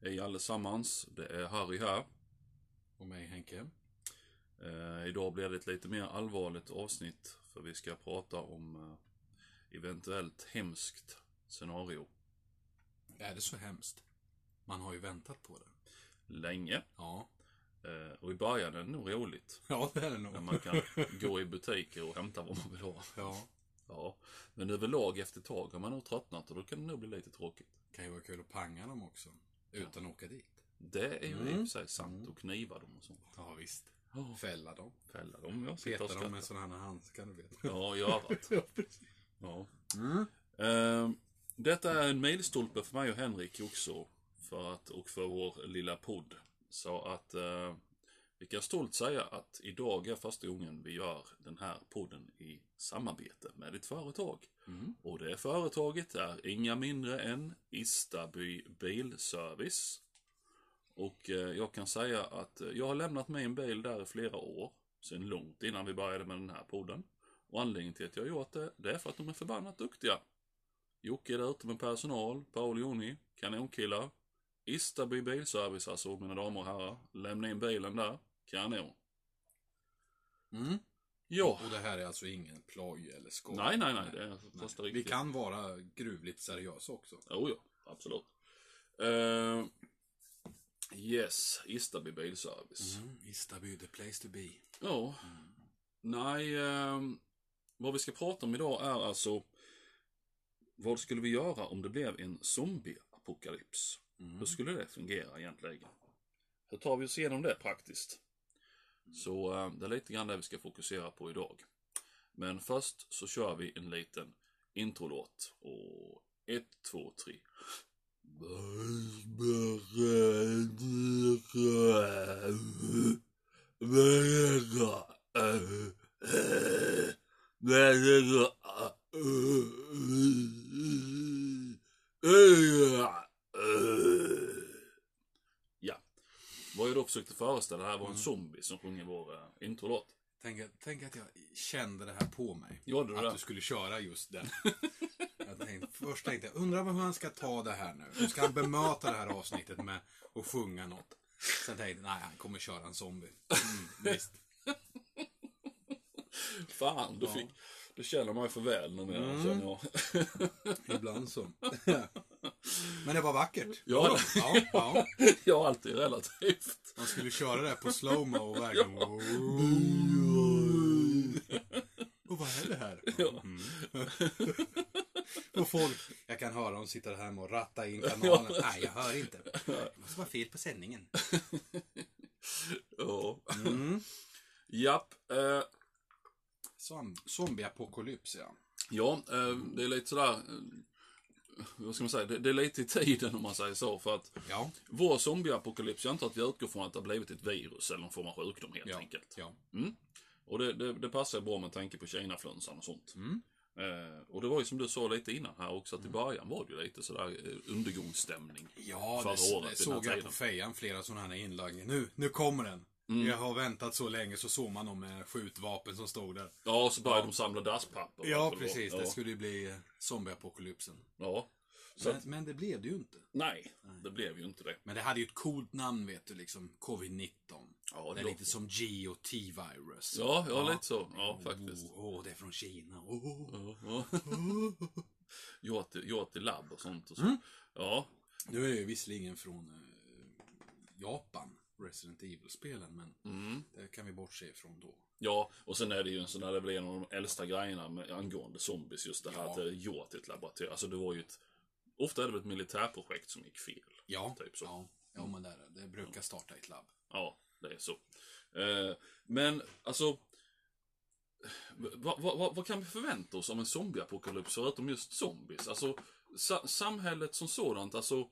Hej allesammans, det är Harry här. Och mig Henke. Eh, idag blir det ett lite mer allvarligt avsnitt för vi ska prata om eh, eventuellt hemskt scenario. Är det så hemskt? Man har ju väntat på det. Länge. Ja, Eh, och i början är det nog roligt. ja det är det När nog. man kan gå i butiker och hämta vad man vill ha. Ja, Ja. Men överlag efter ett tag har man nog tröttnat och då kan det nog bli lite tråkigt. kan ju vara kul att panga dem också. Utan att åka dit. Det är ju i Mm. och för sig sant. Och kniva dem och sånt. Ja, visst. Ja. Fälla dem. Fälla dem, jag sitter och Peta dem med skrattar. sådana här handskar, du vet. Ja, i örat. Ja, precis. Ja. Mm. Ehm, Detta är en milstolpe för mig och Henrik också. För att, och för vår lilla podd. Så att eh, vi kan stolt säga att idag är första gången vi gör den här podden i samarbete med ett företag. Mm. Och det företaget är inga mindre än Istaby Bilservice. Och eh, jag kan säga att eh, jag har lämnat min bil där i flera år. Sen långt innan vi började med den här podden. Och anledningen till att jag har gjort det, det är för att de är förbannat duktiga. Jocke är där ute med personal, Paul Joni, kanonkillar. Istaby Bilservice alltså, mina damer och herrar. Lämna in bilen där, kanon. Mm. Ja, Och det här är alltså ingen ploj eller skoj. nej nej nej, det är första Nej. Vi riktigt. kan vara gruvligt seriösa också. Jo, ja, absolut. Eh, yes, Istaby Bilservice. Mm. Istaby, the place to be. Ja. Nej, eh, vad vi ska prata om idag är alltså vad skulle vi göra om det blev en zombieapokalyps? Mm. Hur skulle det fungera egentligen? Hur tar vi oss igenom det praktiskt? Så eh, det är lite grann det vi ska fokusera på idag. Men först så kör vi en liten introlåt. Och ett, två, tre. Ja. Vad jag då försökte föreställa här var en Mm. zombie som sjunger vår eh, introlåt. Tänk, att- tänk att jag kände det här på mig. Gjorde du Att det? du skulle köra just den. Jag tänkte, först tänkte jag, undrar vad han ska ta det här nu. Hur ska han bemöta det här avsnittet med att sjunga något? Sen tänkte jag, nej, han kommer köra en zombie. Mm, visst. Fan, du, Ja. fick, du känner mig för väl numera. Mm. känner jag. Ibland så. Men det var vackert. Ja. ja, ja. jag är alltid relativt. Man skulle köra det här på slowmo och verkligen... Och vad är det här? Mm. och folk, jag kan höra dem sitta där hemma och ratta in kanalen. Nej, jag hör inte. Det måste vara fel på sändningen. Ja. Mm. Japp. Eh, Som, zombieapokalyps, ja. ja, eh, det är lite sådär... Eh, vad ska man säga? Det, det är lite i tiden om man säger så. För att Ja. vår zombieapokalyps, jag antar att vi utgår från att det har blivit ett virus eller någon form av sjukdom helt Ja. enkelt. ja. Och det, det, det passar bra med tanke på Kinaflunsan och sånt. Mm. Eh, och det var ju som du sa lite innan här också, att i början var det ju lite sådär eh, undergångsstämning. Ja, Förra det, året, det den här såg jag tiden. Mm. på fejan, flera sådana här inlagningar. Nu, nu kommer den. Jag har väntat så länge så såg man dem med skjutvapen som stod där. Ja, och så började de samla dasspapper. och allt Ja, vad det var. precis. Alltså, Ja. Det skulle ju bli eh, zombieapokalypsen. Ja. Så Men, att, men det blev det ju inte. nej, det blev ju inte det. Men det hade ju ett coolt namn, vet du, liksom. Covid-19. Ja, det är låter- lite Oh. som G och T-virus. Ja, ja, lite så. Ja, faktiskt. Mm. Åh, åh, det är från Kina. Åh. Ja, ja. Yachty- Yachty Lab och sånt. Och så. Mm. Ja, Nu är jag ju visserligen från eh, Japan, Resident Evil-spelen, men mm. det kan vi bortse ifrån då. ja, och sen är det ju en sån där, det blir en av de äldsta grejerna med, angående zombies, just det här Ja. att det är gjort i ett laboratorium. Alltså det var ju ett, ofta är det väl ett militärprojekt som gick fel. Ja, Typ så. ja, ja men det, är det. det brukar starta i ett labb. Ja, det är så. Eh, men alltså, vad, vad, vad, vad kan vi förvänta oss om en zombieapokalyps förutom just zombies? Alltså, sa, samhället som sådant, alltså,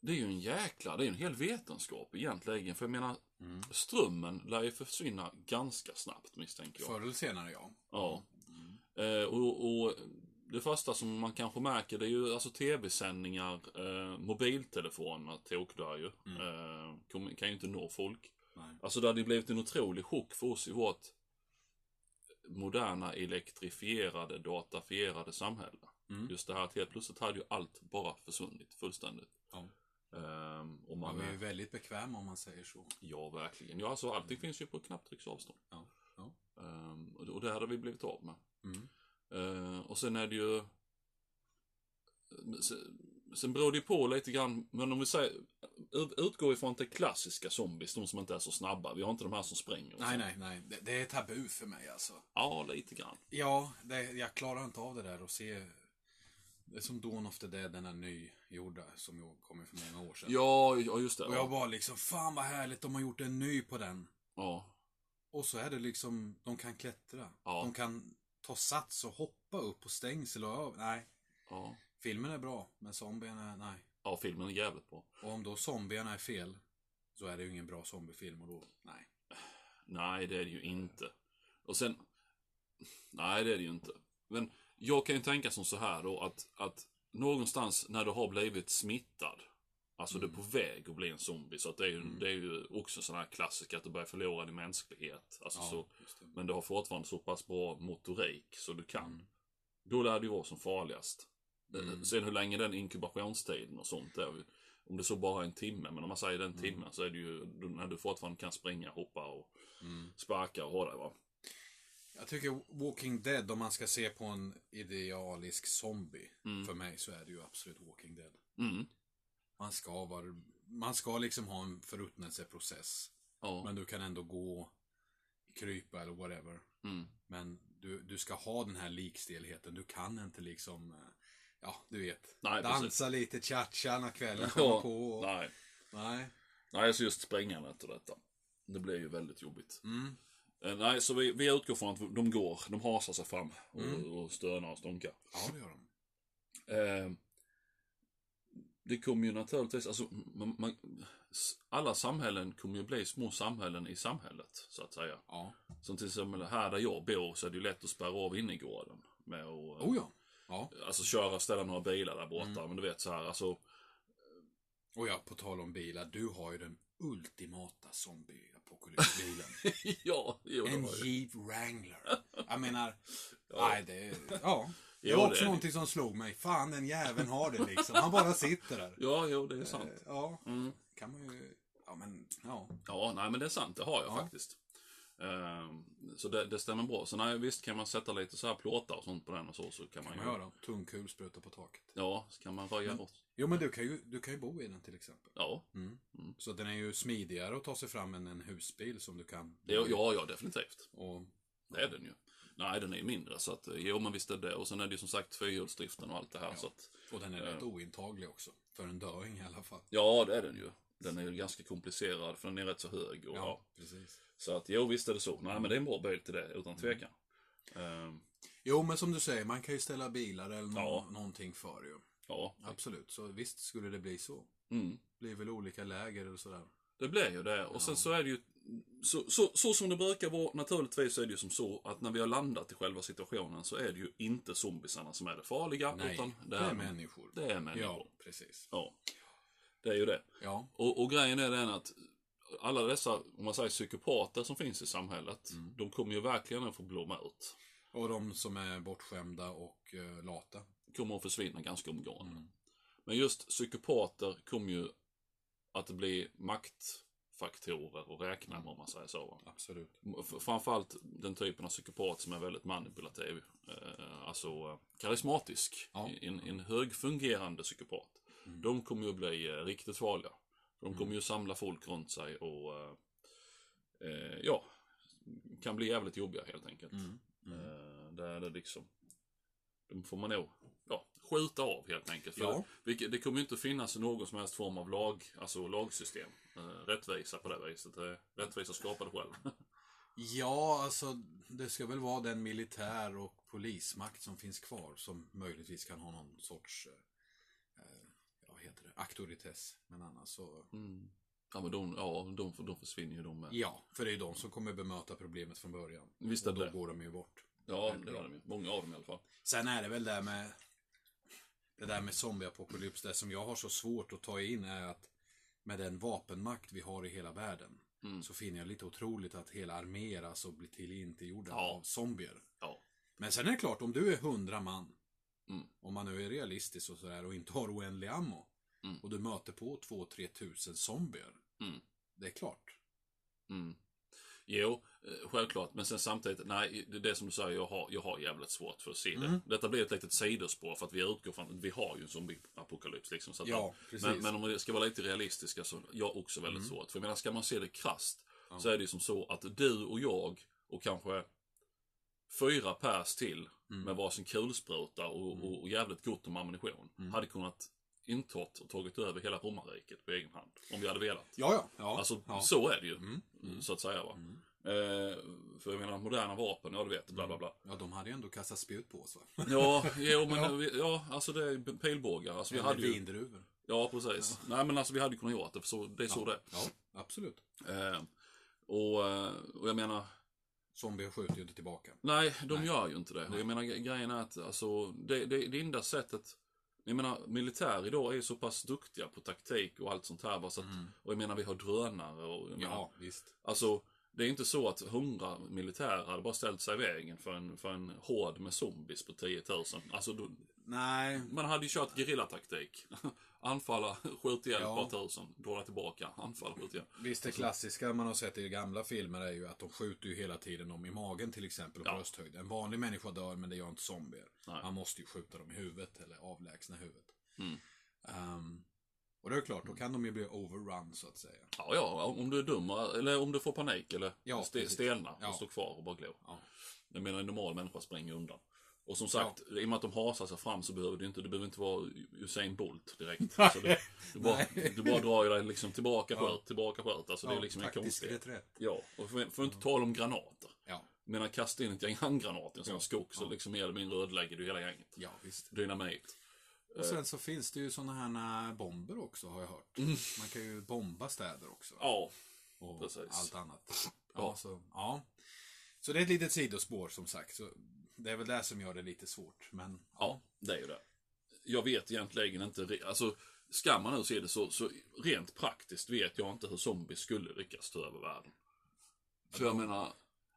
det är ju en jäkla, det är ju en hel vetenskap egentligen. För jag menar, strömmen lär ju försvinna ganska snabbt misstänker jag. Förr eller senare, ja. Ja. Eh, och, och det första som man kanske märker det är ju alltså tv-sändningar, eh, mobiltelefonerna tokdör ju. Eh, kom- kan ju inte nå folk. Nej. Alltså det hade ju blivit en otrolig chock för oss i vårt moderna elektrifierade, datafierade samhälle. Mm. Just det här att helt plötsligt hade ju allt bara försvunnit fullständigt. Ja. Ehm, och man Man är ju är, väldigt bekväm om man säger så. ja, verkligen. Ja, alltså allting finns ju på knapptrycksavstånd. Mm. Ja, ja. Ehm, och, och det hade vi blivit av med. Mm. Eh, och sen är det ju... Sen, sen beror det ju på lite grann, men om vi säger, ut- utgår ifrån att det är klassiska zombies, de som inte är så snabba. Vi har inte de här som springer. och Nej, så. nej, nej. Det, det är tabu för mig alltså. Ja, lite grann. Ja, det, jag klarar inte av det där och se... Det är som Dawn of the Dead, den här nygjorda som jag kommer för många år sedan. Ja, ja just det. Och jag bara liksom, fan vad härligt, de har gjort en ny på den. Ja, Och så är det liksom, de kan klättra. Ja. De kan ta sats och hoppa upp på stängsel och över. Nej, ja. filmen är bra, men zombierna, nej. ja, filmen är jävligt bra. Och om då zombierna är fel, så är det ju ingen bra zombiefilm och då, nej. Nej, det är det ju inte. Och sen... Nej, det är det ju inte. Men jag kan ju tänka som så här då att, att någonstans när du har blivit smittad, alltså du är på väg att bli en zombie, så att det är ju, det är ju också en sån här klassiker att du börjar förlora din mänsklighet. Alltså så, just det. men du har fortfarande så pass bra motorik så du kan. Då lär det ju vara som farligast. Eh, Sen hur länge den inkubationstiden och sånt är, om det så bara är en timme, men om man säger den timmen så är det ju då- när du fortfarande kan springa, hoppa och sparka och ha det va. Jag tycker Walking Dead, om man ska se på en idealisk zombie, för mig så är det ju absolut Walking Dead. Mm. Man ska, vara, man ska liksom ha en förruttnelseprocess. Ja. Men du kan ändå gå, krypa eller whatever. Mm. Men du, du ska ha den här likstelheten. Du kan inte liksom, eh, ja du vet, Nej, dansa precis. lite cha-cha när kvällen kommer Ja, på. Och, nej. nej. nej, så just springandet och detta. Det blir ju väldigt jobbigt. Mm. Eh, Nej, så vi, vi utgår från att de går, de hasar sig fram och, och stönar och stånkar. Ja, det gör de. Eh, det kommer ju naturligtvis, alltså, man, man, s- alla samhällen kommer ju bli små samhällen i samhället, så att säga. Ja. Som till exempel här där jag bor så är det ju lätt att spärra av innergården. Med att, eh, Oh ja. Ja. Mm. Alltså köra, ställa några bilar där borta, men du vet så här, alltså. Och ja, på tal om bilar, du har ju den ultimata zombieapokalypsbilen. ja, jo, det En var ju- Jeep Wrangler. Jag menar, nej det är, ja. Det Jo, var det också är det. någonting som slog mig. Fan, den jäveln har det liksom. Han bara sitter där. Ja, jo, Eh. det är sant. Ja, Mm. kan man ju, ja men, ja. Ja, nej men det är sant, det har jag Ja. faktiskt. Ehm, så det, det stämmer bra. Så nej, visst kan man sätta lite så här plåtar och sånt på den och så, så kan man, Kan man ju... göra. Mm. Tungkul sprutar på taket. Ja, så kan man röja Men- åt. Jo men du kan ju, du kan ju bo i den till exempel. Ja, Mm. Så den är ju smidigare att ta sig fram än en husbil som du kan. det, ja, ja, definitivt. Och, Det är den ju. Nej, den är ju mindre, så att eh, jo, men visst är det. Och sen är det ju som sagt fyrhjulsdriften och allt det här, så att och den är rätt ointaglig också. För en döing i alla fall. ja, det är den ju. Den är ju ganska komplicerad, för den är rätt så hög. Och, ja. precis. Så att jo, visst är det så. Nej, men det är en bra bil till det, utan tvekan. Ehm, Jo men som du säger, man kan ju ställa bilar eller nå- Ja. någonting för ju. ja, Absolut, så visst skulle det bli så. mm. blir väl olika läger och sådär. Det blir ju det. Och sen så är det ju... Så, så, så som det brukar vara, naturligtvis så är det ju som så att när vi har landat i själva situationen så är det ju inte zombisarna som är det farliga. utan det är, det är människor. människor. Det är människor. Ja, Ja. precis. Det är ju det. Ja, Och, och grejen är den att alla dessa, om man säger psykopater som finns i samhället, de kommer ju verkligen att få blomma ut. och de som är bortskämda och eh, lata. Kommer att försvinna ganska Mm. omgående. Men just psykopater kommer ju att bli maktfaktorer och räkna med om man säger så. Va? Absolut. F- Framförallt den typen av psykopat som är väldigt manipulativ. Eh, Alltså eh, karismatisk. Ja. Mm. En, en högfungerande psykopat. De kommer ju att bli eh, riktigt farliga. De kommer ju samla folk runt sig och eh, eh, ja, kan bli jävligt jobbiga helt enkelt. Mm. Eh, Där är det liksom, de får man nog ja, skjuta av helt enkelt. För Ja. det, vilket- det kommer ju inte finnas någon som helst form av lag, alltså lagsystem. Eh, Rättvisa på det viset. Det- Rättvisa skapade själv. Ja, alltså det ska väl vara den militär och polismakt som finns kvar som möjligtvis kan ha någon sorts, eh, eh, ja, vad heter det, auktoritet. Men annars så, Mm. Ja, men de, ja, de, får- de försvinner ju de med. ja, för det är ju de som kommer bemöta problemet från början. Visst är och då det. går de ju bort. Ja, det gör de ju. Många av dem i alla fall. Sen är det väl det här med det där med zombieapokalyps, det som jag har så svårt att ta in är att med den vapenmakt vi har i hela världen Mm. så finner jag lite otroligt att hela arméer alltså blir tillintetgjorda Ja. av zombier. Ja. Men sen är det klart, om du är hundra man, Mm. om man nu är realistisk och sådär och inte har oändlig ammo, Mm. och du möter på 2-3 tusen zombier. Mm. Det är klart. Mm. Jo, eh, självklart. Men sen samtidigt, nej, det är det som du säger, jag har, jag har jävligt svårt för att se det. Mm. Detta blir ett litet sidospår för att vi utgår från, vi har ju en zombieapokalyps liksom. Så att Ja, precis. Mm. men, men om vi ska vara lite realistiska så jag har också väldigt svårt. För jag menar, ska man se det krasst så är det ju som så att du och jag och kanske fyra pers till Mm. med varsin kulspruta och, och, och jävligt gott om ammunition Mm. hade kunnat intagit och tagit över hela romarriket på egen hand. Om vi hade velat. Ja, ja. ja. Alltså ja. Mm. så är det ju. Så att säga va. Eh, för jag menar moderna vapen, ja du vet, bla bla bla. ja, de hade ju ändå kastat spjut på oss va? Ja, jo, men ja. ja alltså det är pilbågar. Alltså, vi Eller hade ju, vindruvor. ja precis. Nej men alltså vi hade ju kunnat göra det, för så, det är så det Ja, absolut. är. Eh, och, eh, och jag menar, Zombier skjuter ju inte tillbaka. nej de gör ju inte det. Och jag menar gre- grejen är att alltså, det, det, det enda sättet jag menar, militär idag är ju så pass duktiga på taktik och allt sånt här. va, Så att, Och jag menar, vi har drönare och jag menar, Mm. Ja, visst. Alltså, det är inte så att hundra militärer hade bara ställt sig i vägen för en, för en hord med zombies på 10 000. Alltså, då, Nej, man hade ju kört gerillataktik. Anfalla, skjut ihjäl Ja. ett par tusen, dra tillbaka, anfalla, skjut ihjäl. Visst, det klassiska man har sett i gamla filmer är ju att de skjuter ju hela tiden dem i magen till exempel och Ja. brösthöjd. En vanlig människa dör men det gör inte zombier. Nej. Man måste ju skjuta dem i huvudet eller avlägsna huvudet. Mm. Ehm, och det är klart, då kan de ju bli overrun så att säga. Ja, ja, om du är dum eller om du får panik eller Ja, ste, precis. stelnar Ja. och står kvar och bara glor. Ja. Jag menar, en normal människa springer undan. Och som sagt, i och med att de hasar sig fram så behöver du inte, du behöver inte vara Usain Bolt direkt. Alltså, du, du, bara, du bara drar ju dig liksom tillbaka, sköt, tillbaka, sköt. Alltså, det är liksom en taktisk konstighet. reträtt. Ja, och för, för att inte tala om granater. Ja, Men när kastar in ett gäng handgranater i en sån skog så liksom mer eller mindre ödelägger du hela gänget. ja visst. Dynamit. Och Eh. sen så finns det ju sådana här eh, bomber också har jag hört. Man kan ju bomba städer också. Mm. Ja, och Precis. allt annat. Ja. Ja. Så, ja. så det är ett litet sidospår som sagt. Så det är väl det som gör det lite svårt. Men ja, det är ju det. Jag vet egentligen inte, re- alltså ska man nu se det så, så rent praktiskt vet jag inte hur zombies skulle lyckas ta över världen. För jag menar,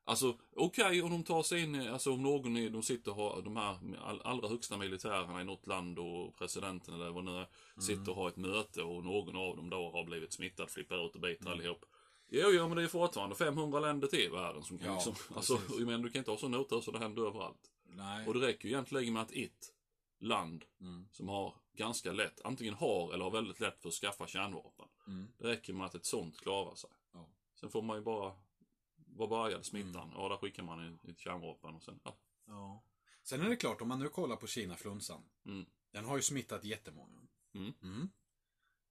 alltså okej om de tar sig in, i- alltså om någon är, de sitter och har de här all, allra högsta militärerna i något land och presidenten eller vad nu är, Mm. sitter och har ett möte och någon av dem då har blivit smittad, flippar ut och biter Mm. allihop. Jo, jo, men det är fortfarande 500 länder till i världen som kan Ja, liksom, precis. alltså, jag menar, du kan inte ha sån otur så det händer överallt. nej. Och det räcker ju egentligen med att ett land Mm. som har ganska lätt, antingen har eller har väldigt lätt för att skaffa kärnvapen. Mm. Det räcker med att ett sånt klarar sig. Ja. Sen får man ju bara, vad började smittan? Ja, där skickar man in ett kärnvapen och sen, ja. Ja. Sen är det klart, om man nu kollar på Kinaflunsan. Mm. Den har ju smittat jättemånga. Mm.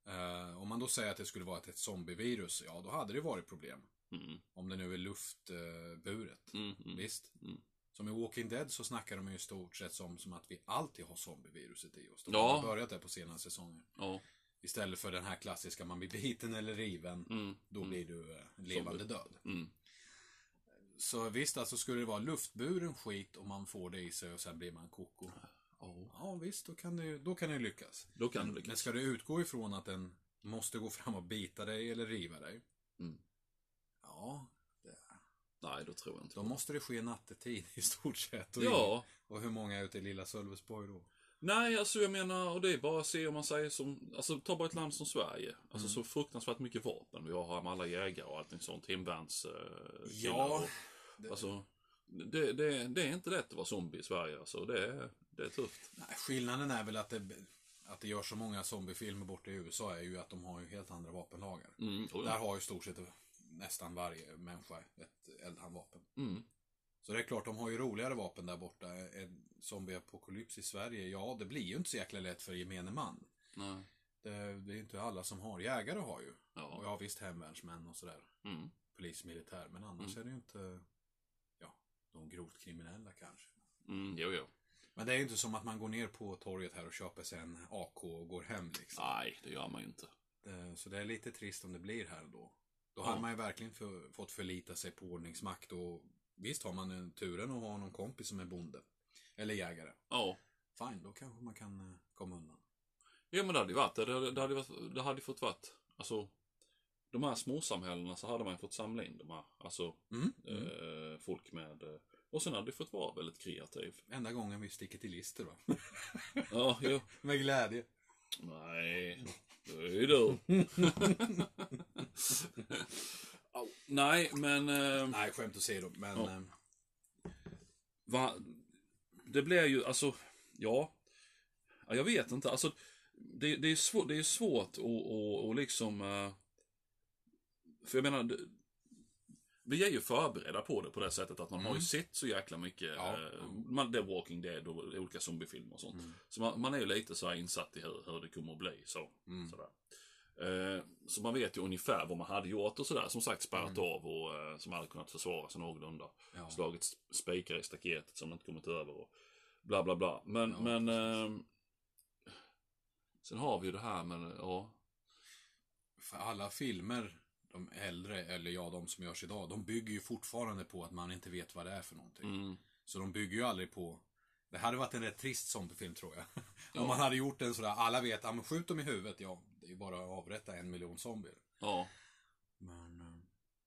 Eh, om man då säger att det skulle vara ett zombievirus, ja då hade det varit problem. Mm, Om det nu är luftburet. mm, mm. Visst? Mm. Som i Walking Dead så snackar de ju i stort sett som, som att vi alltid har zombieviruset i oss. De Ja. har börjat det på senare säsonger. Ja, Istället för den här klassiska, man blir biten eller riven, mm, då blir du eh, levande död. mm. Så visst, alltså skulle det vara luftburen skit och man får det i sig och sen blir man koko. Ja, Ja visst, då kan det ju, då kan det ju lyckas. då kan du Men lyckas. ska du utgå ifrån att den måste gå fram och bita dig eller riva dig? Mm. Ja, Nej, då tror jag inte. då måste det ske nattetid i stort sett. Och, Ja, och hur många är ute i lilla Sölvesborg då? Nej, alltså jag menar, och det är bara att se om man säger som, alltså ta bara ett land som Sverige. Alltså så fruktansvärt mycket vapen vi har här med alla jägare och allting sånt, hemvärns... Eh, killar Ja, och, Alltså, det, det, det är inte lätt att vara zombie i Sverige alltså, det är, det är tufft. Nej, skillnaden är väl att det, att det görs så många zombiefilmer borta i USA är ju att de har ju helt andra vapenlagar. Mm, och, Där har ju i stort sett nästan varje människa ett eldhandvapen. mm, Så det är klart, de har ju roligare vapen där borta. En zombieapokalyps i Sverige, ja det blir ju inte så jäkla lätt för gemene man. nej, Det, det är ju inte alla som har. Jägare har ju. Och ja, ja visst, hemvärnsmän och sådär. mm, Polis, militär. Men annars är det ju inte, ja, de grovt kriminella kanske. mm, jo, jo. Men det är ju inte som att man går ner på torget här och köper sig en AK och går hem liksom. Nej, det gör man ju inte. Det, Eh, så det är lite trist om det blir här då. Då hade man ju verkligen för, fått förlita sig på ordningsmakt och visst har man en turen att ha någon kompis som är bonde. Eller jägare. Ja. Fine, då kanske man kan eh, komma undan. Ja men det hade ju varit det. Det hade, det hade, varit, det hade ju fått varit, alltså de här småsamhällena så hade man ju fått samla in de här, alltså Mm, Eh, folk med eh, och sen hade du fått vara väldigt kreativ. Enda gången vi sticker till lister va? Ja, jo. Med glädje. Nej. du. Au, Nej, men... Eh, Nej, skämt åsido. Men Ja. eh, Va? Det blir ju, alltså, ja. ja jag vet inte, alltså. Det, det, är, svår, det är svårt att och, och liksom... eh, För jag menar, det- vi är ju förberedda på det på det sättet att man har ju sett så jäkla mycket. Ja. eh, Man, det är Walking Dead och olika zombiefilmer och sånt. Så man, man är ju lite så här insatt i hur, hur det kommer att bli. Så, Mm. sådär. Eh, så man vet ju ungefär vad man hade gjort och sådär. Som sagt spärrat av och eh, som hade kunnat försvara sig någorlunda. Ja. Slagit sp- spikar i staketet som de inte kommit över och bla bla bla. Men, Ja, men ehm, sen har vi ju det här men eh, ja. för alla filmer, de äldre, eller ja, de som görs idag, de bygger ju fortfarande på att man inte vet vad det är för någonting. Mm, Så de bygger ju aldrig på... Det hade varit en rätt trist zombiefilm tror jag. Ja. Om man hade gjort en sådär, alla vet, ja men skjut dem i huvudet, ja, det är ju bara att avrätta en miljon zombier. ja, Men eh,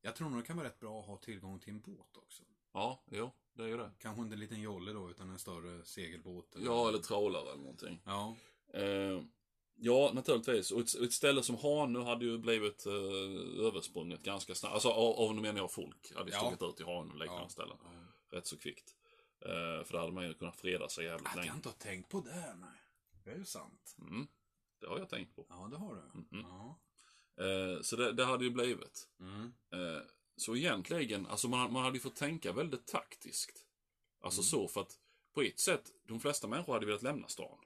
jag tror nog det kan vara rätt bra att ha tillgång till en båt också. ja, jo, det är ju det. Kanske inte en liten jolle då, utan en större segelbåt. Ja, eller trålare eller någonting. Ja, Eh, ja, naturligtvis. Och ett, ett ställe som Hanö hade ju blivit eh, översprunget ganska snabbt. Alltså av, av nu menar jag folk. Hade ju Ja. stuckit ut i Hanö och liknande Ja. ställen. Rätt så kvickt. Eh, för där hade man ju kunnat freda sig jävligt att jag länge. inte har tänkt på det, nej. Det är ju sant. Mm, det har jag tänkt på. Ja, det har du. Mhm. Ja. Eh, så det, det hade ju blivit. Mm. Eh, så egentligen, alltså man, man hade ju fått tänka väldigt taktiskt. Alltså så, för att på ett sätt, de flesta människor hade velat lämna stan.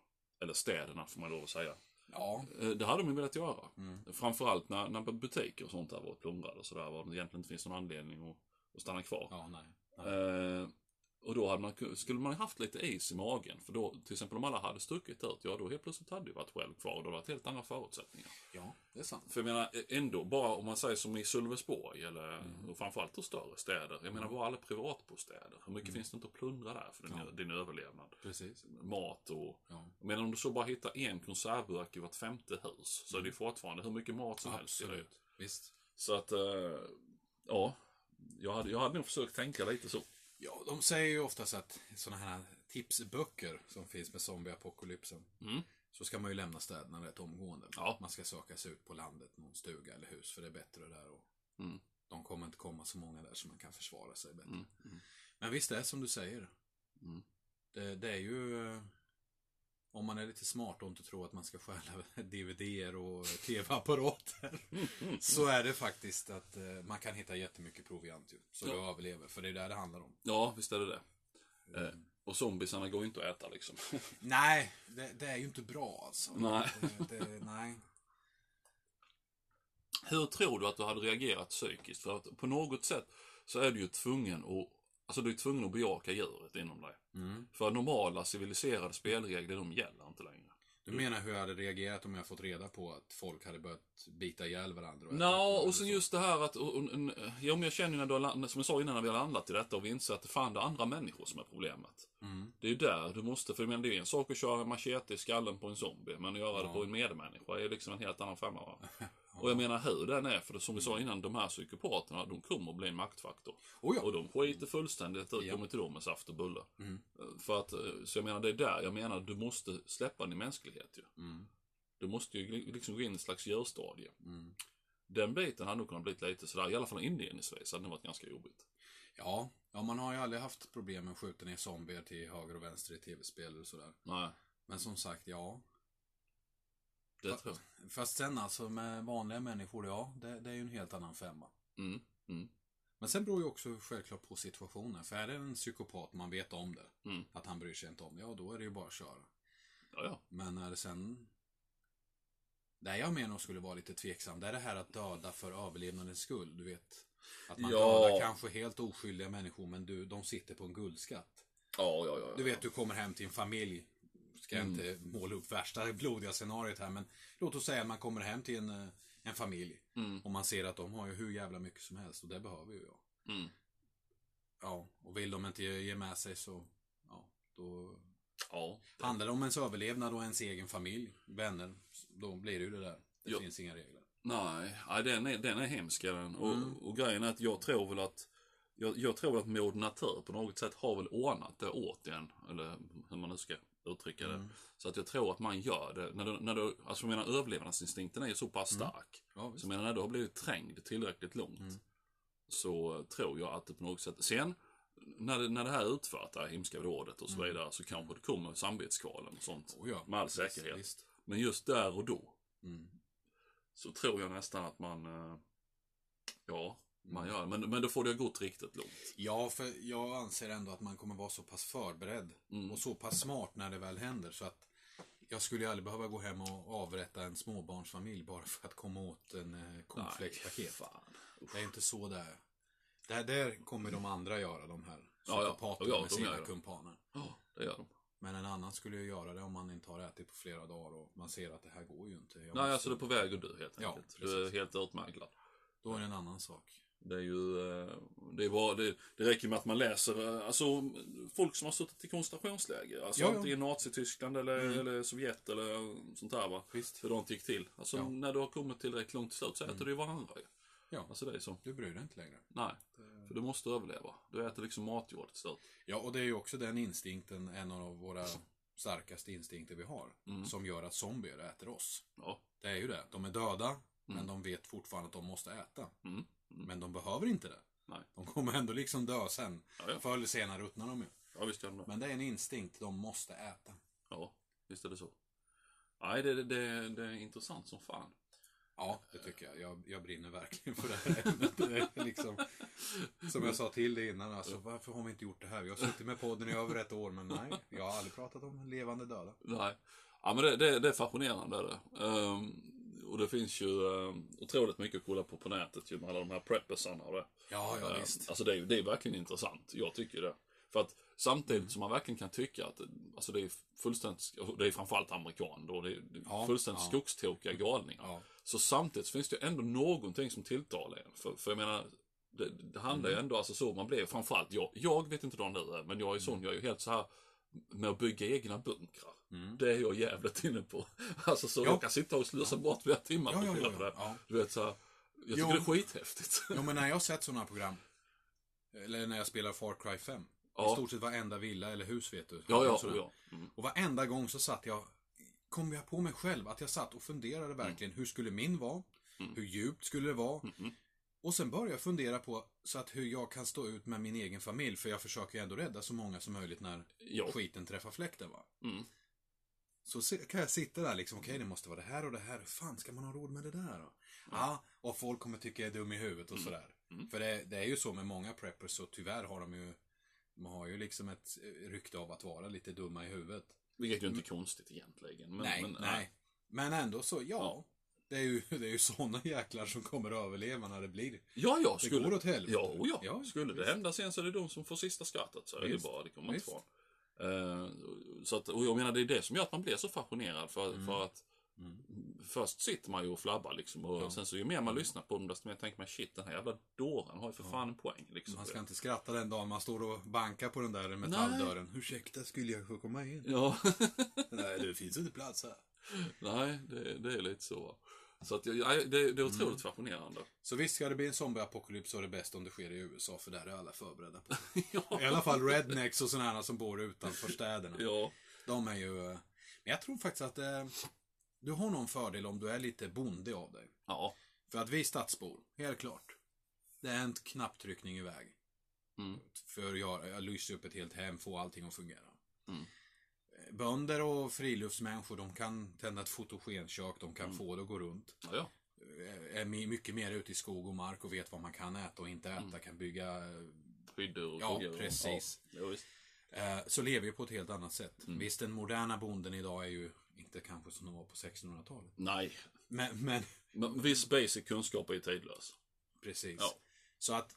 Eller städerna, får man lov att säga. Ja. Eh, Det hade de ju velat göra. Framförallt när, när butiker och sånt där var plundrade och sådär. Var det egentligen inte finns någon anledning att, att stanna kvar. Ja, nej. Eh, och då hade man, ku- skulle man haft lite is i magen. För då, till exempel om alla hade stuckit ut, ja då helt plötsligt hade det varit själv kvar. Och då hade det varit helt andra förutsättningar. Ja, det är sant. För jag menar ä- ändå, bara om man säger som i Sölvesborg eller och framförallt då större städer. Jag menar bara alla privatbostäder. Hur mycket finns det inte att plundra där för din, din överlevnad? Precis. Mat och... Ja. Men om du så bara hittar en konservburk i vart femte hus så är det ju fortfarande hur mycket mat som helst. i det. Absolut. Visst. Så att, eh, ja. Jag hade, jag hade nog försökt tänka lite så. Ja, de säger ju oftast att sådana här tipsböcker som finns med zombieapokalypsen. Mm. Så ska man ju lämna städerna rätt omgående. Ja. Man ska söka sig ut på landet, någon stuga eller hus, för det är bättre där. Och Mm. De kommer inte komma så många där så man kan försvara sig bättre. Mm, mm. Men visst det är som du säger. Mm. Det, det är ju... eh, Om man är lite smart och inte tror att man ska stjäla DVDer och TV-apparater. så är det faktiskt att eh, man kan hitta jättemycket proviant ju. Så du överlever, för det är där det handlar om. Ja, visst är det det. Eh, och zombisarna går ju inte att äta liksom. Nej, det, det är ju inte bra alltså. Nej. Det, det, nej. Hur tror du att du hade reagerat psykiskt? För att på något sätt så är du ju tvungen att, alltså du är tvungen att bejaka djuret inom dig. Mm. För normala civiliserade spelregler, de gäller inte längre. Du menar hur jag hade reagerat om jag fått reda på att folk hade börjat bita ihjäl varandra? äta Nå, varandra och sen så? just det här att, och, och, en- ja men jag känner ju när du har landat, som jag sa innan när vi har landat i detta och vi inser att det fan det är andra människor som är problemet. Mm. Det är ju där du måste, för jag menar, det är ju en sak att köra en machete i skallen på en zombie, men att göra det på en medmänniska är ju liksom en helt annan femma va? Och jag menar hur den är, för det, som vi sa innan, de här psykopaterna, de kommer att bli en maktfaktor. Oh, ja. Och de skiter fullständigt ut, de är till dem med saft och bulle. För att, eh, så jag menar, det är där jag menar, du måste släppa din mänsklighet ju. Mm. Du måste ju li- liksom gå in i en slags djurstadie. Mm. Den biten hade nog kunnat bli lite sådär, i alla fall inledningsvis, hade det varit ganska jobbigt. Ja, ja, man har ju aldrig haft problem med att skjuta ner zombier till höger och vänster i tv-spel och sådär. Nej, Men som sagt, ja. det tror jag. Fast sen alltså med vanliga människor, ja, det, det är ju en helt annan femma. Mm, mm. Men sen beror ju också självklart på situationen. För är det en psykopat man vet om det, Mm. att han bryr sig inte om det, ja då är det ju bara att köra. Ja, ja. Men när det sen... Där jag menar skulle vara lite tveksam, det är det här att döda för överlevnadens skull. Du vet, att man Ja. dödar kanske helt oskyldiga människor, men du, de sitter på en guldskatt. Ja, ja, ja. ja. Du vet, du kommer hem till en familj. Ska jag inte måla upp värsta blodiga scenariet här, men låt oss säga att man kommer hem till en, eh, en familj. Och man ser att de har ju hur jävla mycket som helst och det behöver ju jag. Mm. Ja, och vill de inte ge ge med sig så, ja, då Ja, Handlar det om ens överlevnad och ens egen familj, vänner, då blir det ju det där. Det Ja. finns inga regler. Mm. Nej, nej den, är, den är hemsk är den. Och, och grejen är att jag tror väl att jag, jag tror att Maud Natur på något sätt har väl ordnat det åt en, eller hur man nu ska uttrycka det. Mm. Så att jag tror att man gör det. När du, när du, alltså jag menar överlevnadsinstinkten är ju så pass stark. Ja, visst. Så jag menar när du har blivit trängd tillräckligt långt så tror jag att det på något sätt... Sen när det, när det här är utfört, det här hemska rådet och så vidare, så kanske det kommer samvetskvalen och sånt. Oh ja, med all visst, säkerhet. visst. Men just där och då Mm. så tror jag nästan att man... eh, Ja, man Mm. gör det. Men, men då får det ha gått riktigt långt. Ja, för jag anser ändå att man kommer vara så pass förberedd Mm. och så pass smart när det väl händer så att jag skulle ju aldrig behöva gå hem och avrätta en småbarnsfamilj bara för att komma åt en eh, cornflakespaket. Det är inte så det är. Det här där kommer de andra göra, de här Ja, ja. psykopaterna Ja, ja, med de gör sina det. kumpaner. Ja, det gör de. Men en annan skulle ju göra det om man inte har ätit på flera dagar och man ser att det här går ju inte. Jag Nej, måste- alltså du är på väg att dö helt Ja, enkelt. du är helt utmärglad. Då är det en annan sak. Det är ju, eh, det är bara, det, det räcker med att man läser, eh, alltså folk som har suttit i koncentrationsläger. Alltså Ja, Mm. ja. antingen Nazityskland eller, eller Sovjet eller sånt där va. Visst. Hur de gick till. Alltså Ja. Mm. när du har kommit tillräckligt långt till slut så äter du ju varandra ju. Ja. Alltså det är så. Du bryr dig inte längre. Nej. För du måste överleva. Du äter liksom matjord till slut. Ja, och det är ju också den instinkten, en av våra starkaste instinkter vi har, Mm. som gör att zombier äter oss. Ja. Det är ju det. De är döda, men de vet fortfarande att de måste äta. Mm. Men de behöver inte det. Nej. De kommer ändå liksom dö sen. Ja, ja. Förr eller senare ruttnar de ju. Ja visst gör de det. Men det är en instinkt, de måste äta. Ja, visst är det så. Nej, det, det, det, det är intressant som fan. Ja, det tycker jag. Jag, jag brinner verkligen för det här ämnet. Det är liksom, som jag sa till dig innan, alltså, varför har vi inte gjort det här? Vi har suttit med podden i över ett år, men nej, jag har aldrig pratat om levande döda. Nej. Ja, men det, det, det är fascinerande. är Det. Ehm, och det finns ju um, otroligt mycket att kolla på på nätet ju, med alla de här preppersarna och det. Ja, ja, Ehm, visst. Alltså det är, ju- det är verkligen intressant. Jag tycker det. För att samtidigt som man verkligen kan tycka att alltså det är fullständigt, och det är framförallt amerikaner då, det är det är Ja, fullständigt ja. skogstokiga galningar. Ja. Så samtidigt finns det ju ändå någonting som tilltalar en. För, för jag menar, det, det handlar Mm. ju ändå alltså så man blir, framförallt jag, jag vet inte hur du är, men jag är Mm. sån, jag är ju helt så här med att bygga egna bunkrar. Det är jag jävligt inne på. Alltså så Mm. Ja. jag kan sitta och slösa bort flera timmar på Ja, ja, att ja, fylla på ja, det. ja. Du vet så här, jag tycker Jo. det är skithäftigt. Jo, men när jag har sett sådana program, eller när jag spelar Far Cry 5, Ja. i stort sett varenda villa eller hus vet du. Ja, ja, Sådär. ja. Mm. Och varenda gång så satt jag, kom jag på mig själv, att jag satt och funderade verkligen, hur skulle min vara? Hur djupt skulle det vara? Och sen började jag fundera på så att hur jag kan stå ut med min egen familj, för jag försöker ju ändå rädda så många som möjligt när Ja. skiten träffar fläkten. Va? Mm. Så se- kan jag sitta där liksom, okej det måste vara det här och det här, hur fan ska man ha råd med det där då? Ja, och folk kommer tycka jag är dum i huvudet och sådär. För det, det är ju så med många preppers, så tyvärr har de ju, de har ju liksom ett eh, rykte av att vara lite dumma i huvudet. Vilket ju inte är konstigt egentligen. Men, Mm. nej, men, nej. Men ändå så, ja. Det är ju, det är ju sådana jäklar som kommer att överleva när det blir. Ja, ja, skulle... går åt helvete. Ja, och ja. Ja, skulle det visst. hända sen så är det de som får sista skrattet. Så är det Visst. bara, det kommer man inte ifrån. Visst. Eh, så att, och jag menar, det är det som gör att man blir så fascinerad. För, Mm. för att först sitter man ju och flabbar liksom. Och sen så ju mer Mm. man lyssnar på dem, desto mer tänker man shit, den här jävla dåren har ju för fan en poäng. Liksom. Man ska inte skratta den dagen man står och bankar på den där metalldörren. Ursäkta, skulle jag få komma in? Ja, Nej, det finns inte plats här. nej, det, det är lite så. Så att, jag- jag- det, det är otroligt Mm. fascinerande. Så visst ska det bli en zombieapokalyps så är det bäst om det sker i USA, för där är alla förberedda på det. ja. I alla fall rednecks och sådana här som bor utanför städerna. ja. De är ju... eh, Men jag tror faktiskt att eh, du har någon fördel om du är lite bonde av dig. Ja. För att vi stadsbor, helt klart. Det är en knapptryckning iväg. Mm. För att göra, jag lyser upp ett helt hem, få allting att fungera. Eh, Mm. Bönder och friluftsmänniskor, de kan tända ett fotogenkök, de Mm. kan få det att gå runt. Ja, ja. Eh, Är my- mycket mer ute i skog och mark och vet vad man kan äta och inte äta, Mm. kan bygga. eh, Skyddor och Ja, kuggar och- precis. Ja, ja, visst. eh, Så lever ju på ett helt annat sätt. Mm. Visst, den moderna bonden idag är ju inte kanske som den var på 1600-talet. Nej, Men, men men viss basic kunskap är ju tidlös. precis. Ja. Så att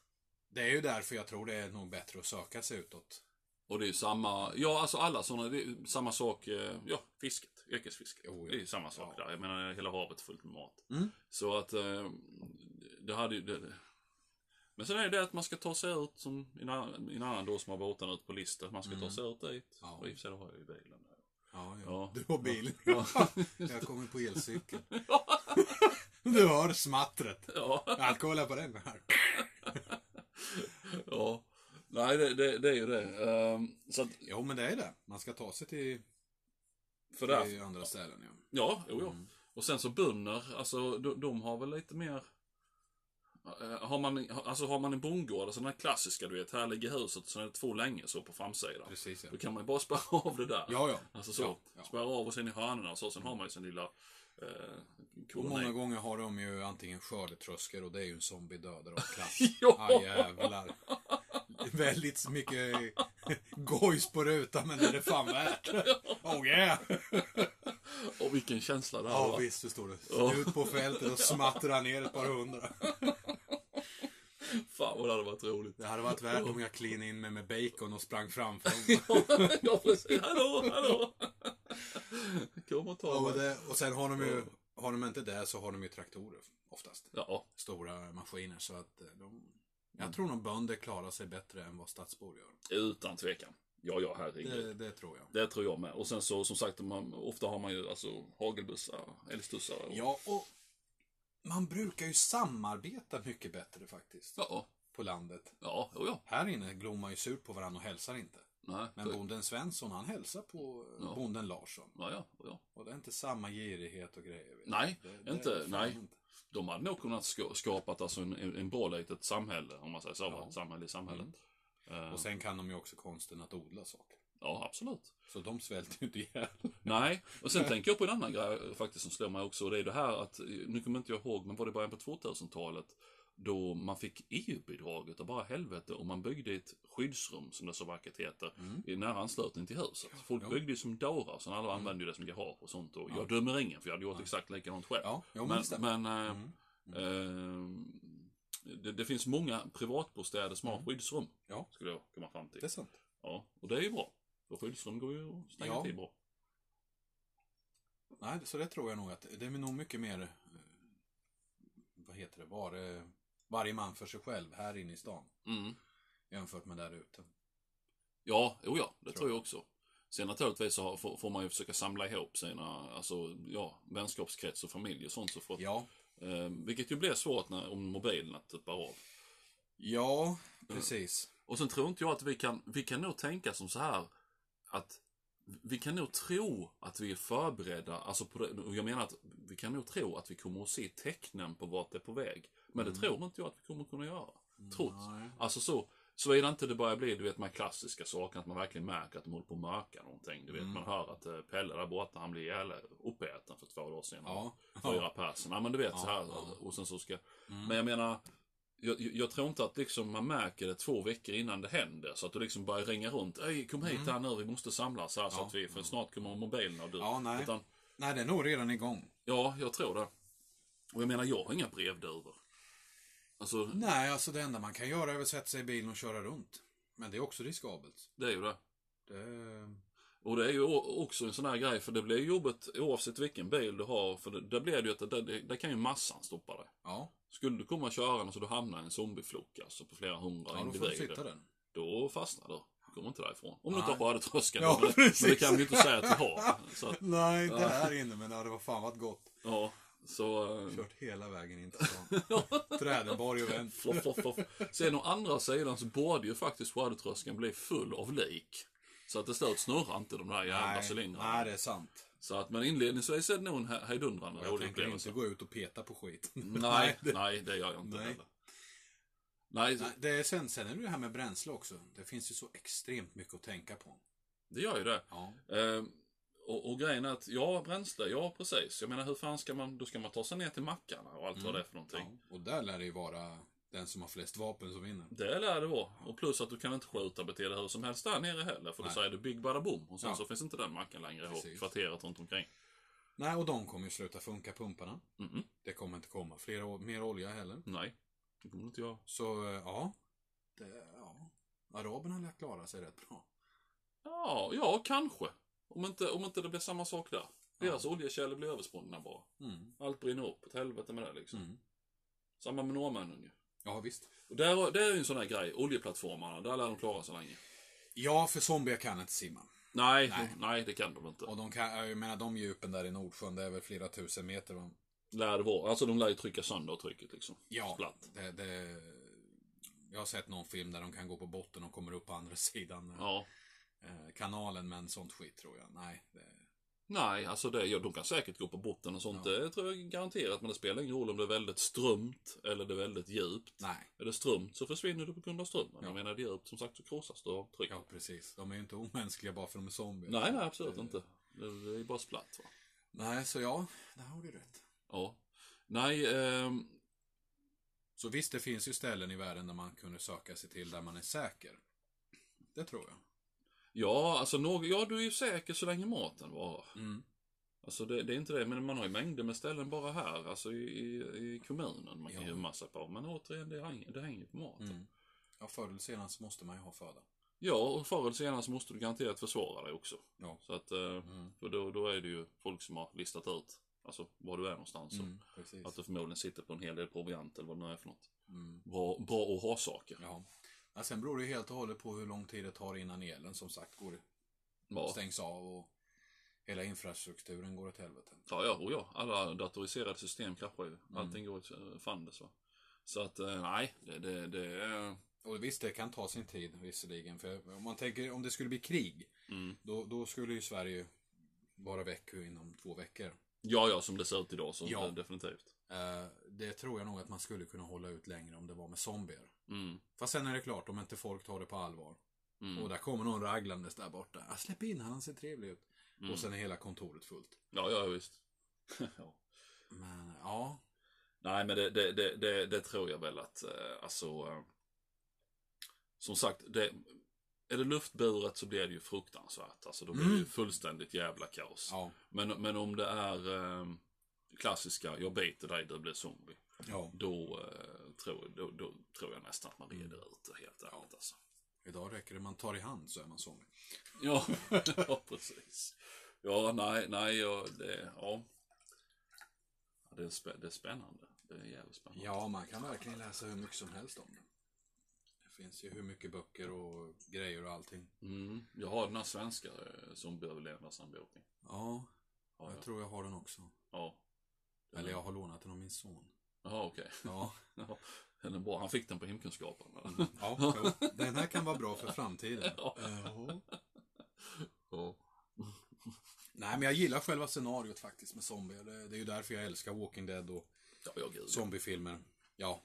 det är ju därför jag tror det är nog bättre att söka sig utåt. Och det är ju samma, ja alltså alla sådana, det är samma sak, eh, ja fisket, yrkesfisket. Jo, Oh, ja. Det är ju samma sak där, jag menar hela havet är fullt med mat. Mm. Så att eh, det hade ju, det, men sen är det det att man ska ta sig ut som i en annan, i en annan då som har båten ut på listan, man ska ta sig ut dit. Mm. Ja. Och i och för sig då har jag ju bilen. där. Ja, ja. Ja. Du har bilen. Ja. jag kommer på elcykel. du hör smattret. Ja, Jag kolla på den här. ja, Ja. Nej, det, det, det är ju det. Ehm, så att, Jo, men det är det. Man ska ta sig till, för där, till andra ställen. Ja. Ja, jo, jo. Mm. Och sen så bönder, alltså de, de har väl lite mer... Eh, Har man, alltså har man en bondgård, alltså den här klassiska du vet, här ligger huset och sen är det två längre så på framsidan. Precis, ja. Då kan man ju bara spärra av det där. Ja, ja. Alltså så. Ja, ja. Spärra av och sen i hörnorna och så, sen har man ju sin lilla eh, Och många koloni. gånger har de ju antingen skördetröskor och det är ju en zombiedödare av klass. Ja. Aj, jävlar. Väldigt mycket gojs på rutan, men det är det fan värt. Oh yeah! Och vilken känsla det här Ja, var. visst, det står Ja. det. Ut på fältet och smattrar ner ett par hundra. Fan vad det hade varit roligt. Det hade varit värt om jag clean in mig med bacon och sprang framför dem. ja, precis. Hallå, hallå! Kom och ta Och, mig. det, och sen har de ju, har de inte det så har de ju traktorer oftast. Ja, Stora maskiner så att eh, de, jag tror nog bönder klarar sig bättre än vad stadsbor gör. utan tvekan. Ja, ja, herregud. Det, det tror jag. Det tror jag med. Och sen så som sagt, man, ofta har man ju alltså hagelbussar, älgstussar. Och... Ja, och man brukar ju samarbeta mycket bättre faktiskt. Ja, På landet. ja, jo, ja. Här inne glor man ju surt på varandra och hälsar inte. Nej, Men för- bonden Svensson, han hälsar på eh, Ja. bonden Larsson. ja, ja, ja. Och det är inte samma girighet och grejer. vet du. Nej, Det- det är inte, fan nej. inte. De hade nog kunnat ska, skapat alltså en, en en bra litet samhälle, om man säger så. Ja. Mm. Ett samhälle i samhället. Eh, Och sen kan de ju också konsten att odla saker. ja, absolut. Så de svälter ju inte ihjäl. Nej, och sen tänker jag på en annan grej eh, faktiskt som slår mig också. Och det är det här att, eh, nu kommer inte jag ihåg, men var det i början på 2000-talet? Då man fick EU-bidraget och bara helvete och man byggde ett skyddsrum, som det så vackert heter, Mm. i nära anslutning till huset. Folk byggde ju som dårar, så alla använde ju det som garage och sånt. Och jag dömer ingen, för jag hade gjort exakt likadant själv. Ja, jo, men men det Mm. stämmer. men eh, eh, det, det finns många privatbostäder som har skyddsrum, Mm. Ja. skulle jag komma fram till. Det är sant. Ja, och det är ju bra. För skyddsrum går ju att stänga Ja. till bra. Nej, så det tror jag nog att det är nog mycket mer, eh, vad heter det, var, eh, varje man för sig själv här inne i stan. Mm. Jämfört med där ute. Ja, jo ja, det tror, Tror jag också. Sen naturligtvis så har- får, får man ju försöka samla ihop sina, alltså, ja, vänskapskrets och familj och sånt. Så får, Ja, eh, vilket ju blir svårt när, om mobilen att tuppar av. Ja, precis. Och sen tror inte jag att vi kan, vi kan nog tänka som så här att vi kan nog tro att vi är förberedda, alltså på det, och jag menar att vi kan nog tro att vi kommer att se tecknen på vart det är på väg. Men det tror inte jag att vi kommer att kunna göra. Trots. Nej. Alltså så, så är det inte det börjar bli, du vet, de här klassiska sakerna, att man verkligen märker att de håller på att mörka någonting. Du vet, Mm. man hör att eh, Pelle där borta, han blir ihjäl, eh, uppäten för två dagar sedan. Ja. Fyra personer. Ja, men du vet så här, och sen så ska... Mm. Men jag menar, jag, jag- jag tror inte att liksom man märker det två veckor innan det händer. Så att du liksom börjar ringa runt. Ej, kom hit Mm. här nu, vi måste samlas här så att vi, för snart kommer mobilen och du. Ja, nej. Utan, Nej, det är nog redan igång. ja, jag tror det. Och jag menar, jag har inga brevduvor. Alltså, Nej, alltså det enda man kan göra är väl sätta sig i bilen och köra runt. Men det är också riskabelt. det är ju det. Det... Och det är ju o- också en sån här grej, för det blir jobbigt oavsett vilken bil du har. För det, där blir det ju att det, det, där kan ju massan stoppa dig. Ja, Skulle du komma körande så du hamnar i en zombieflock, alltså på flera hundra ja då får individer. du sitta den. då fastnar du. Du kommer inte därifrån. Om du inte Nej. har skördetröskan. Ja, men, precis. men det kan vi ju inte säga att vi har. Så, att, Nej, inte här inne, men det hade vad fan varit gott. ja, så... eh, Kört hela vägen in till stan. Trädenborg och vänt. Floff, floff, floff. Sen å andra sidan så borde ju faktiskt skördetröskan bli full av lik. Så att det slut snurrar inte de där jävla Nej, cylindrarna. nej, det är sant. Så att, men inledningsvis är det nog en he- hejdundrande Jag rolig tänker upplevelse. inte gå ut och peta på skit. Nej, nej, det gör jag inte Nej. heller. Nej, Nej, det är sen, sen är det det här med bränsle också. Det finns ju så extremt mycket att tänka på. det gör ju det. Ja, Ehm, och, och grejen är att, ja, bränsle, ja precis. Jag menar hur fan ska man, då ska man ta sig ner till mackarna och allt vad det är för någonting. Mm. ja. Och där lär det ju vara den som har flest vapen som vinner. Det lär det vara. Och plus att du kan inte skjuta bete dig hur som helst där nere heller. För då Nej. säger du Big Bada Boom och sen Ja. så finns inte den macken längre och Precis. kvarteret runt omkring. Nej, och de kommer ju sluta funka, pumparna. Mhm. Det kommer inte komma fler, o- mer olja heller. Nej, det kommer inte jag. Så, eh, ja. Det, ja. Araberna lär klara sig rätt bra. Ja, ja kanske. Om inte, om inte det blir samma sak där. Deras oljekällor blir översprungna bara. Mm. Allt brinner upp, ett helvete med det liksom. Mm. Samma med norrmännen ju. Ja, visst. Och där, där är ju en sån här grej, oljeplattformarna, där lär de klara sig länge. Ja, för zombier kan inte simma. Nej, nej. Nej. det kan de inte. Och de kan, jag menar de djupen där i Nordsjön, det är väl flera tusen meter va? Lär det vara. Alltså de lär ju trycka sönder trycket liksom. Ja, Platt. det, det, Jag har sett någon film där de kan gå på botten och kommer upp på andra sidan eh, Ja. eh, kanalen, men sånt skit tror jag. Nej, det, Nej, alltså det, ja, de kan säkert gå på botten och sånt. Det tror jag garanterat. Men det spelar ingen roll om det är väldigt strömt eller det är väldigt djupt. nej. Är det strömt så försvinner du på grund av strömmen. Ja. Jag menar det är djupt som sagt så krossas du av tryck. Ja, precis. De är ju inte omänskliga bara för de är zombier. Nej, nej absolut Eh, inte. Det, det är bara splatt va. Nej, så ja, där har du rätt. Ja. Nej, ehm, Så visst, det finns ju ställen i världen där man kunde söka sig till där man är säker. Det tror jag. ja alltså någ- ja du är ju säker så länge maten varar. Mm, Alltså det, det är inte det, men man har ju mängder med ställen bara här, alltså i, i, i kommunen man kan Ja. gömma sig på. Men återigen, det hänger, det hänger på maten. Mm. Ja, förr eller senare så måste man ju ha föda. Ja, och förr eller senare så måste du garanterat försvara dig också. Ja. Så att, eh, Mm. för då, då är det ju folk som har listat ut, alltså var du är någonstans. och Mm, precis. Att du förmodligen sitter på en hel del proviant eller vad det nu är för något. Mm. Bra, bra att ha saker. Ja. ja. Sen beror det ju helt och hållet på hur lång tid det tar innan elen som sagt går, Ja, stängs av och hela infrastrukturen går åt helvete. ja, ja, och ja. Alla datoriserade system kraschar ju. Mm. Allting går åt eh, fandes va. Så att, eh, nej, det, det, det eh, är... Och visst, det kan ta sin tid visserligen. För om man tänker, om det skulle bli krig, Mm. då, då skulle ju Sverige vara väck inom två veckor. Ja, ja, som det ser ut idag så Ja. eh, definitivt. Eh, det tror jag nog att man skulle kunna hålla ut längre om det var med zombier. Mm. Fast sen är det klart, om inte folk tar det på allvar. Mm. Och där kommer någon raglandes där borta. Ah, släpp in han, han ser trevlig ut. Mm. Och sen är hela kontoret fullt. Ja, ja, visst. ja. Men ja, Nej, men det, det, det, det, det tror jag väl att, eh, alltså... Eh, som sagt, det, är det luftburet så blir det ju fruktansvärt. Alltså då blir det ju Mm. fullständigt jävla kaos. ja, Men, men om det är eh, klassiska, jag biter dig, du blir zombie. ja. Då, eh, tror, då, då tror jag nästan att man reder ut det helt ärligt alltså. Idag räcker det man tar i hand så är man zombie. Ja, ja precis. Ja, nej, nej, ja, det, ja. Ja, Det är, spä, det är spännande. Det är jävligt spännande. Ja, man kan verkligen läsa hur mycket som helst om det. Det finns ju hur mycket böcker och grejer och allting. Mm. Jag har den här svenska eh, som behöver lämnadshandboken. Ja, Ja, jag tror jag har den också. ja. Eller jag har lånat den av min son. Jaha, okej. Ja, Ja, Den är bra. Han fick den på hemkunskapen. eller? ja jo. den här kan vara bra för framtiden. Ja. Ja. Nej, men jag gillar själva scenariot faktiskt med zombier. Det det är ju därför jag älskar Walking Dead och Ja, ja, gud. zombiefilmer. Ja,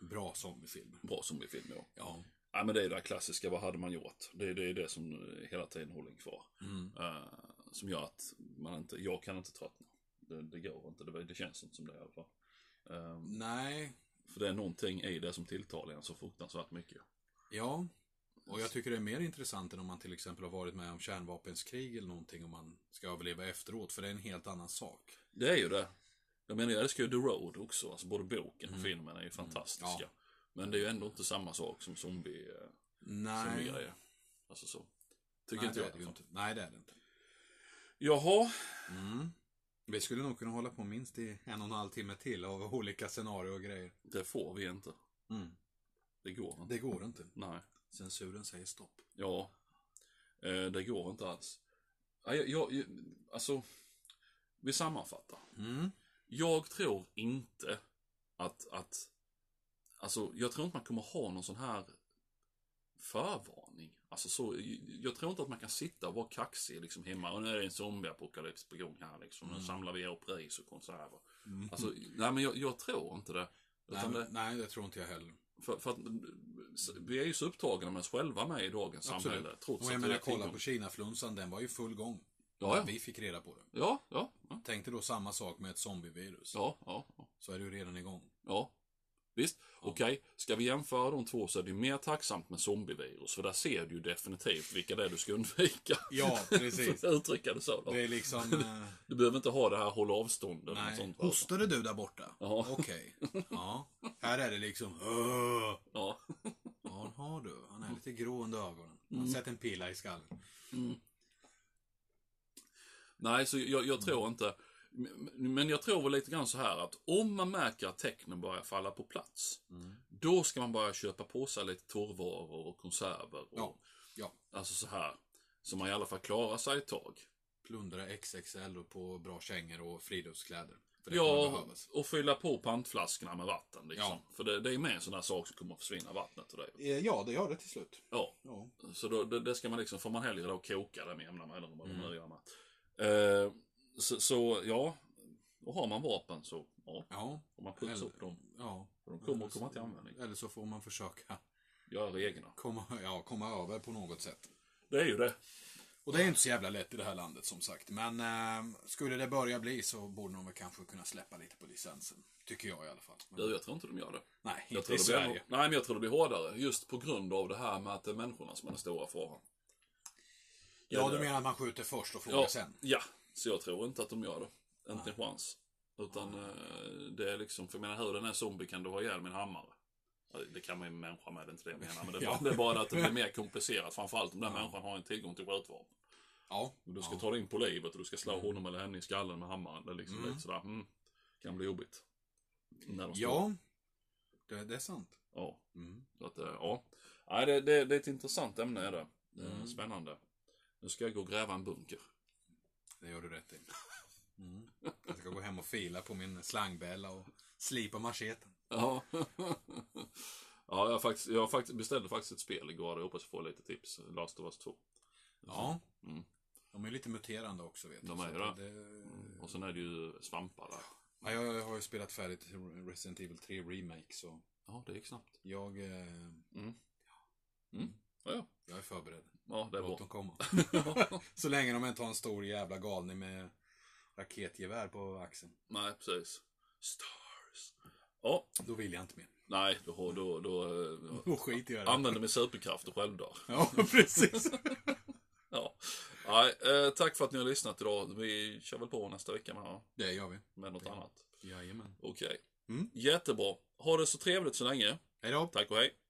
bra zombiefilmer. Bra zombiefilm, ja. Ja. Ja, men det är det där klassiska, vad hade man gjort? Det, är- det är det som eh, hela tiden håller en kvar. Mm. Eh, som gör att man inte, jag kan inte tröttna. Det, det går inte, det, det känns inte som det i alla fall. Eh, Nej, för det är någonting i det som tilltalar en så fruktansvärt mycket. ja. Och jag tycker det är mer intressant än om man till exempel har varit med om kärnvapenskrig eller någonting och man ska överleva efteråt, för det är en helt annan sak. Det är ju det. Jag menar, jag älskar ju The Road också. Alltså både boken och filmen är ju fantastiska. Mm. Ja. Men det är ju ändå inte samma sak som zombie, eh, Nej, zombie-grejer. Alltså så. Tycker nej inte det jag. är det ju inte. alltså. Nej, det är det inte. Jaha, Mm. Vi skulle nog kunna hålla på minst i en och en halv timme till av olika scenarier och grejer. det får vi inte. Mm. Det går inte. Det går inte. Nej. Censuren säger stopp. Ja, eh, det går inte alls. Nej, Jag, jag, jag, alltså, vi sammanfattar. Mm. Jag tror inte att, att, alltså jag tror inte man kommer ha någon sån här förvarning. Alltså så, jag tror inte att man kan sitta och vara kaxig liksom hemma och nu är det en zombieapokalyps på gång här liksom. Mm. Nu samlar vi upp ris och konserver. Alltså, nej men jag, jag tror inte det. Nej, Utan det, men- nej, det tror inte jag heller. för, för att vi är ju så upptagna med oss själva med i dagens samhälle. Trots och jag att menar, vi har kolla tillgång- på Kinaflunsan, den var ju full gång. Ja, ja. När Vi fick reda på det. Ja, ja, ja, Tänkte då samma sak med ett zombievirus. ja, ja, ja, Så är det ju redan igång. ja. Visst, okej, ska vi jämföra de två så är det ju mer tacksamt med zombievirus, för där ser du ju definitivt vilka det är du ska undvika. Ja, precis. För att uttrycka det så då. Det är liksom... Eh, Du behöver inte ha det här håll avstånd eller något nej. sånt. va? Hostade du där borta? Ja. Okej. Ja. Här är det liksom... "Åh." Ja, Ja, har du. Han är lite grå under ögonen. Han Mm. har sett en pila i skallen. nej, så jag, jag Mm. tror inte. men- Men jag tror väl lite grann så här att om man märker att tecknen börjar falla på plats, då ska man börja köpa på sig lite torrvaror och konserver. Och, Ja. Ja. Alltså så här, så man i alla fall klarar sig ett tag. Plundra XXL och på bra kängor och friluftskläder. För det kommer Ja, behövas. och fylla på pantflaskorna med vatten. Liksom. Ja. För det, det är med en sån här sak som kommer att försvinna vattnet. Och det. Eh, Ja, det gör det till slut. Ja, Ja. så då, det, det ska man liksom, får man hellre då koka det med jämna mellanrum. eller Mm. vad man nu gör med. Eh, så, så, ja, och har man vapen så, ja, Ja. får man putsa Eller- upp dem. ja. För de kommer att komma till användning. Eller så får man försöka Göra egna. komma, ja, komma över på något sätt. Det är ju det. Och det är inte så jävla lätt i det här landet som sagt. Men eh, skulle det börja bli så borde de väl kanske kunna släppa lite på licensen. Tycker jag i alla fall. Men, Du, jag tror inte de gör det. nej, Jag inte tror i det blir, Sverige. nej, men jag tror det blir hårdare. Just på grund av det här med att det är människorna som är den stora faran. Ja, Eller- du menar att man skjuter först och frågar Ja, sen? ja, så jag tror inte att de gör det. Inte en chans. Utan eh, det är liksom, för jag menar hur den här zombie kan du ha ihjäl med en hammare? Ja, Det kan man ju människa med, det är inte det jag menar. Men det är, Ja. bara, det är bara att det blir mer komplicerat. Framförallt om den människan har en tillgång till skjutvapen. Ja. Mm. Du ska ta dig in på livet och du ska slå honom eller henne i skallen med hammaren. Det är liksom lite sådär, mm, kan bli jobbigt. När de står- Ja. Det, det är sant. Ja. Mm. Så att, eh, ja. Nej, det, det, det är ett intressant ämne är det. Det är Mm. Spännande. Nu ska jag gå och gräva en bunker. Det gör du rätt i. Mm. Jag ska gå hem och fila på min slangbälla och slipa macheten. Ja. ja, jag, faktiskt, jag faktiskt beställde faktiskt ett spel igår. Jag hoppas jag får lite tips. Last of Us 2. Ja. Mm. De är lite muterande också vet du. De så är ju att det. Mm. det- Och sen är det ju svampar där. Ja, jag har ju spelat färdigt Resident Evil 3 Remake så Ja, det gick snabbt. jag, eh, Mm. Ja, ja. jag är förberedd. ja det är bra. Låt dem komma. så länge de inte har en stor jävla galning med raketgevär på axeln. Nej, precis. Stars. Ja, Då vill jag inte mer. nej, då, har- då, då, eh, Då skiter jag i det. använder min superkraft och självdör. Ja, precis. Ja. Nej, eh, tack för att ni har lyssnat idag. Vi kör väl på nästa vecka med, Det gör vi. med något annat. Jajamän. Okej. Mm. Jättebra. Ha det så trevligt så länge. Hej då. Tack och hej.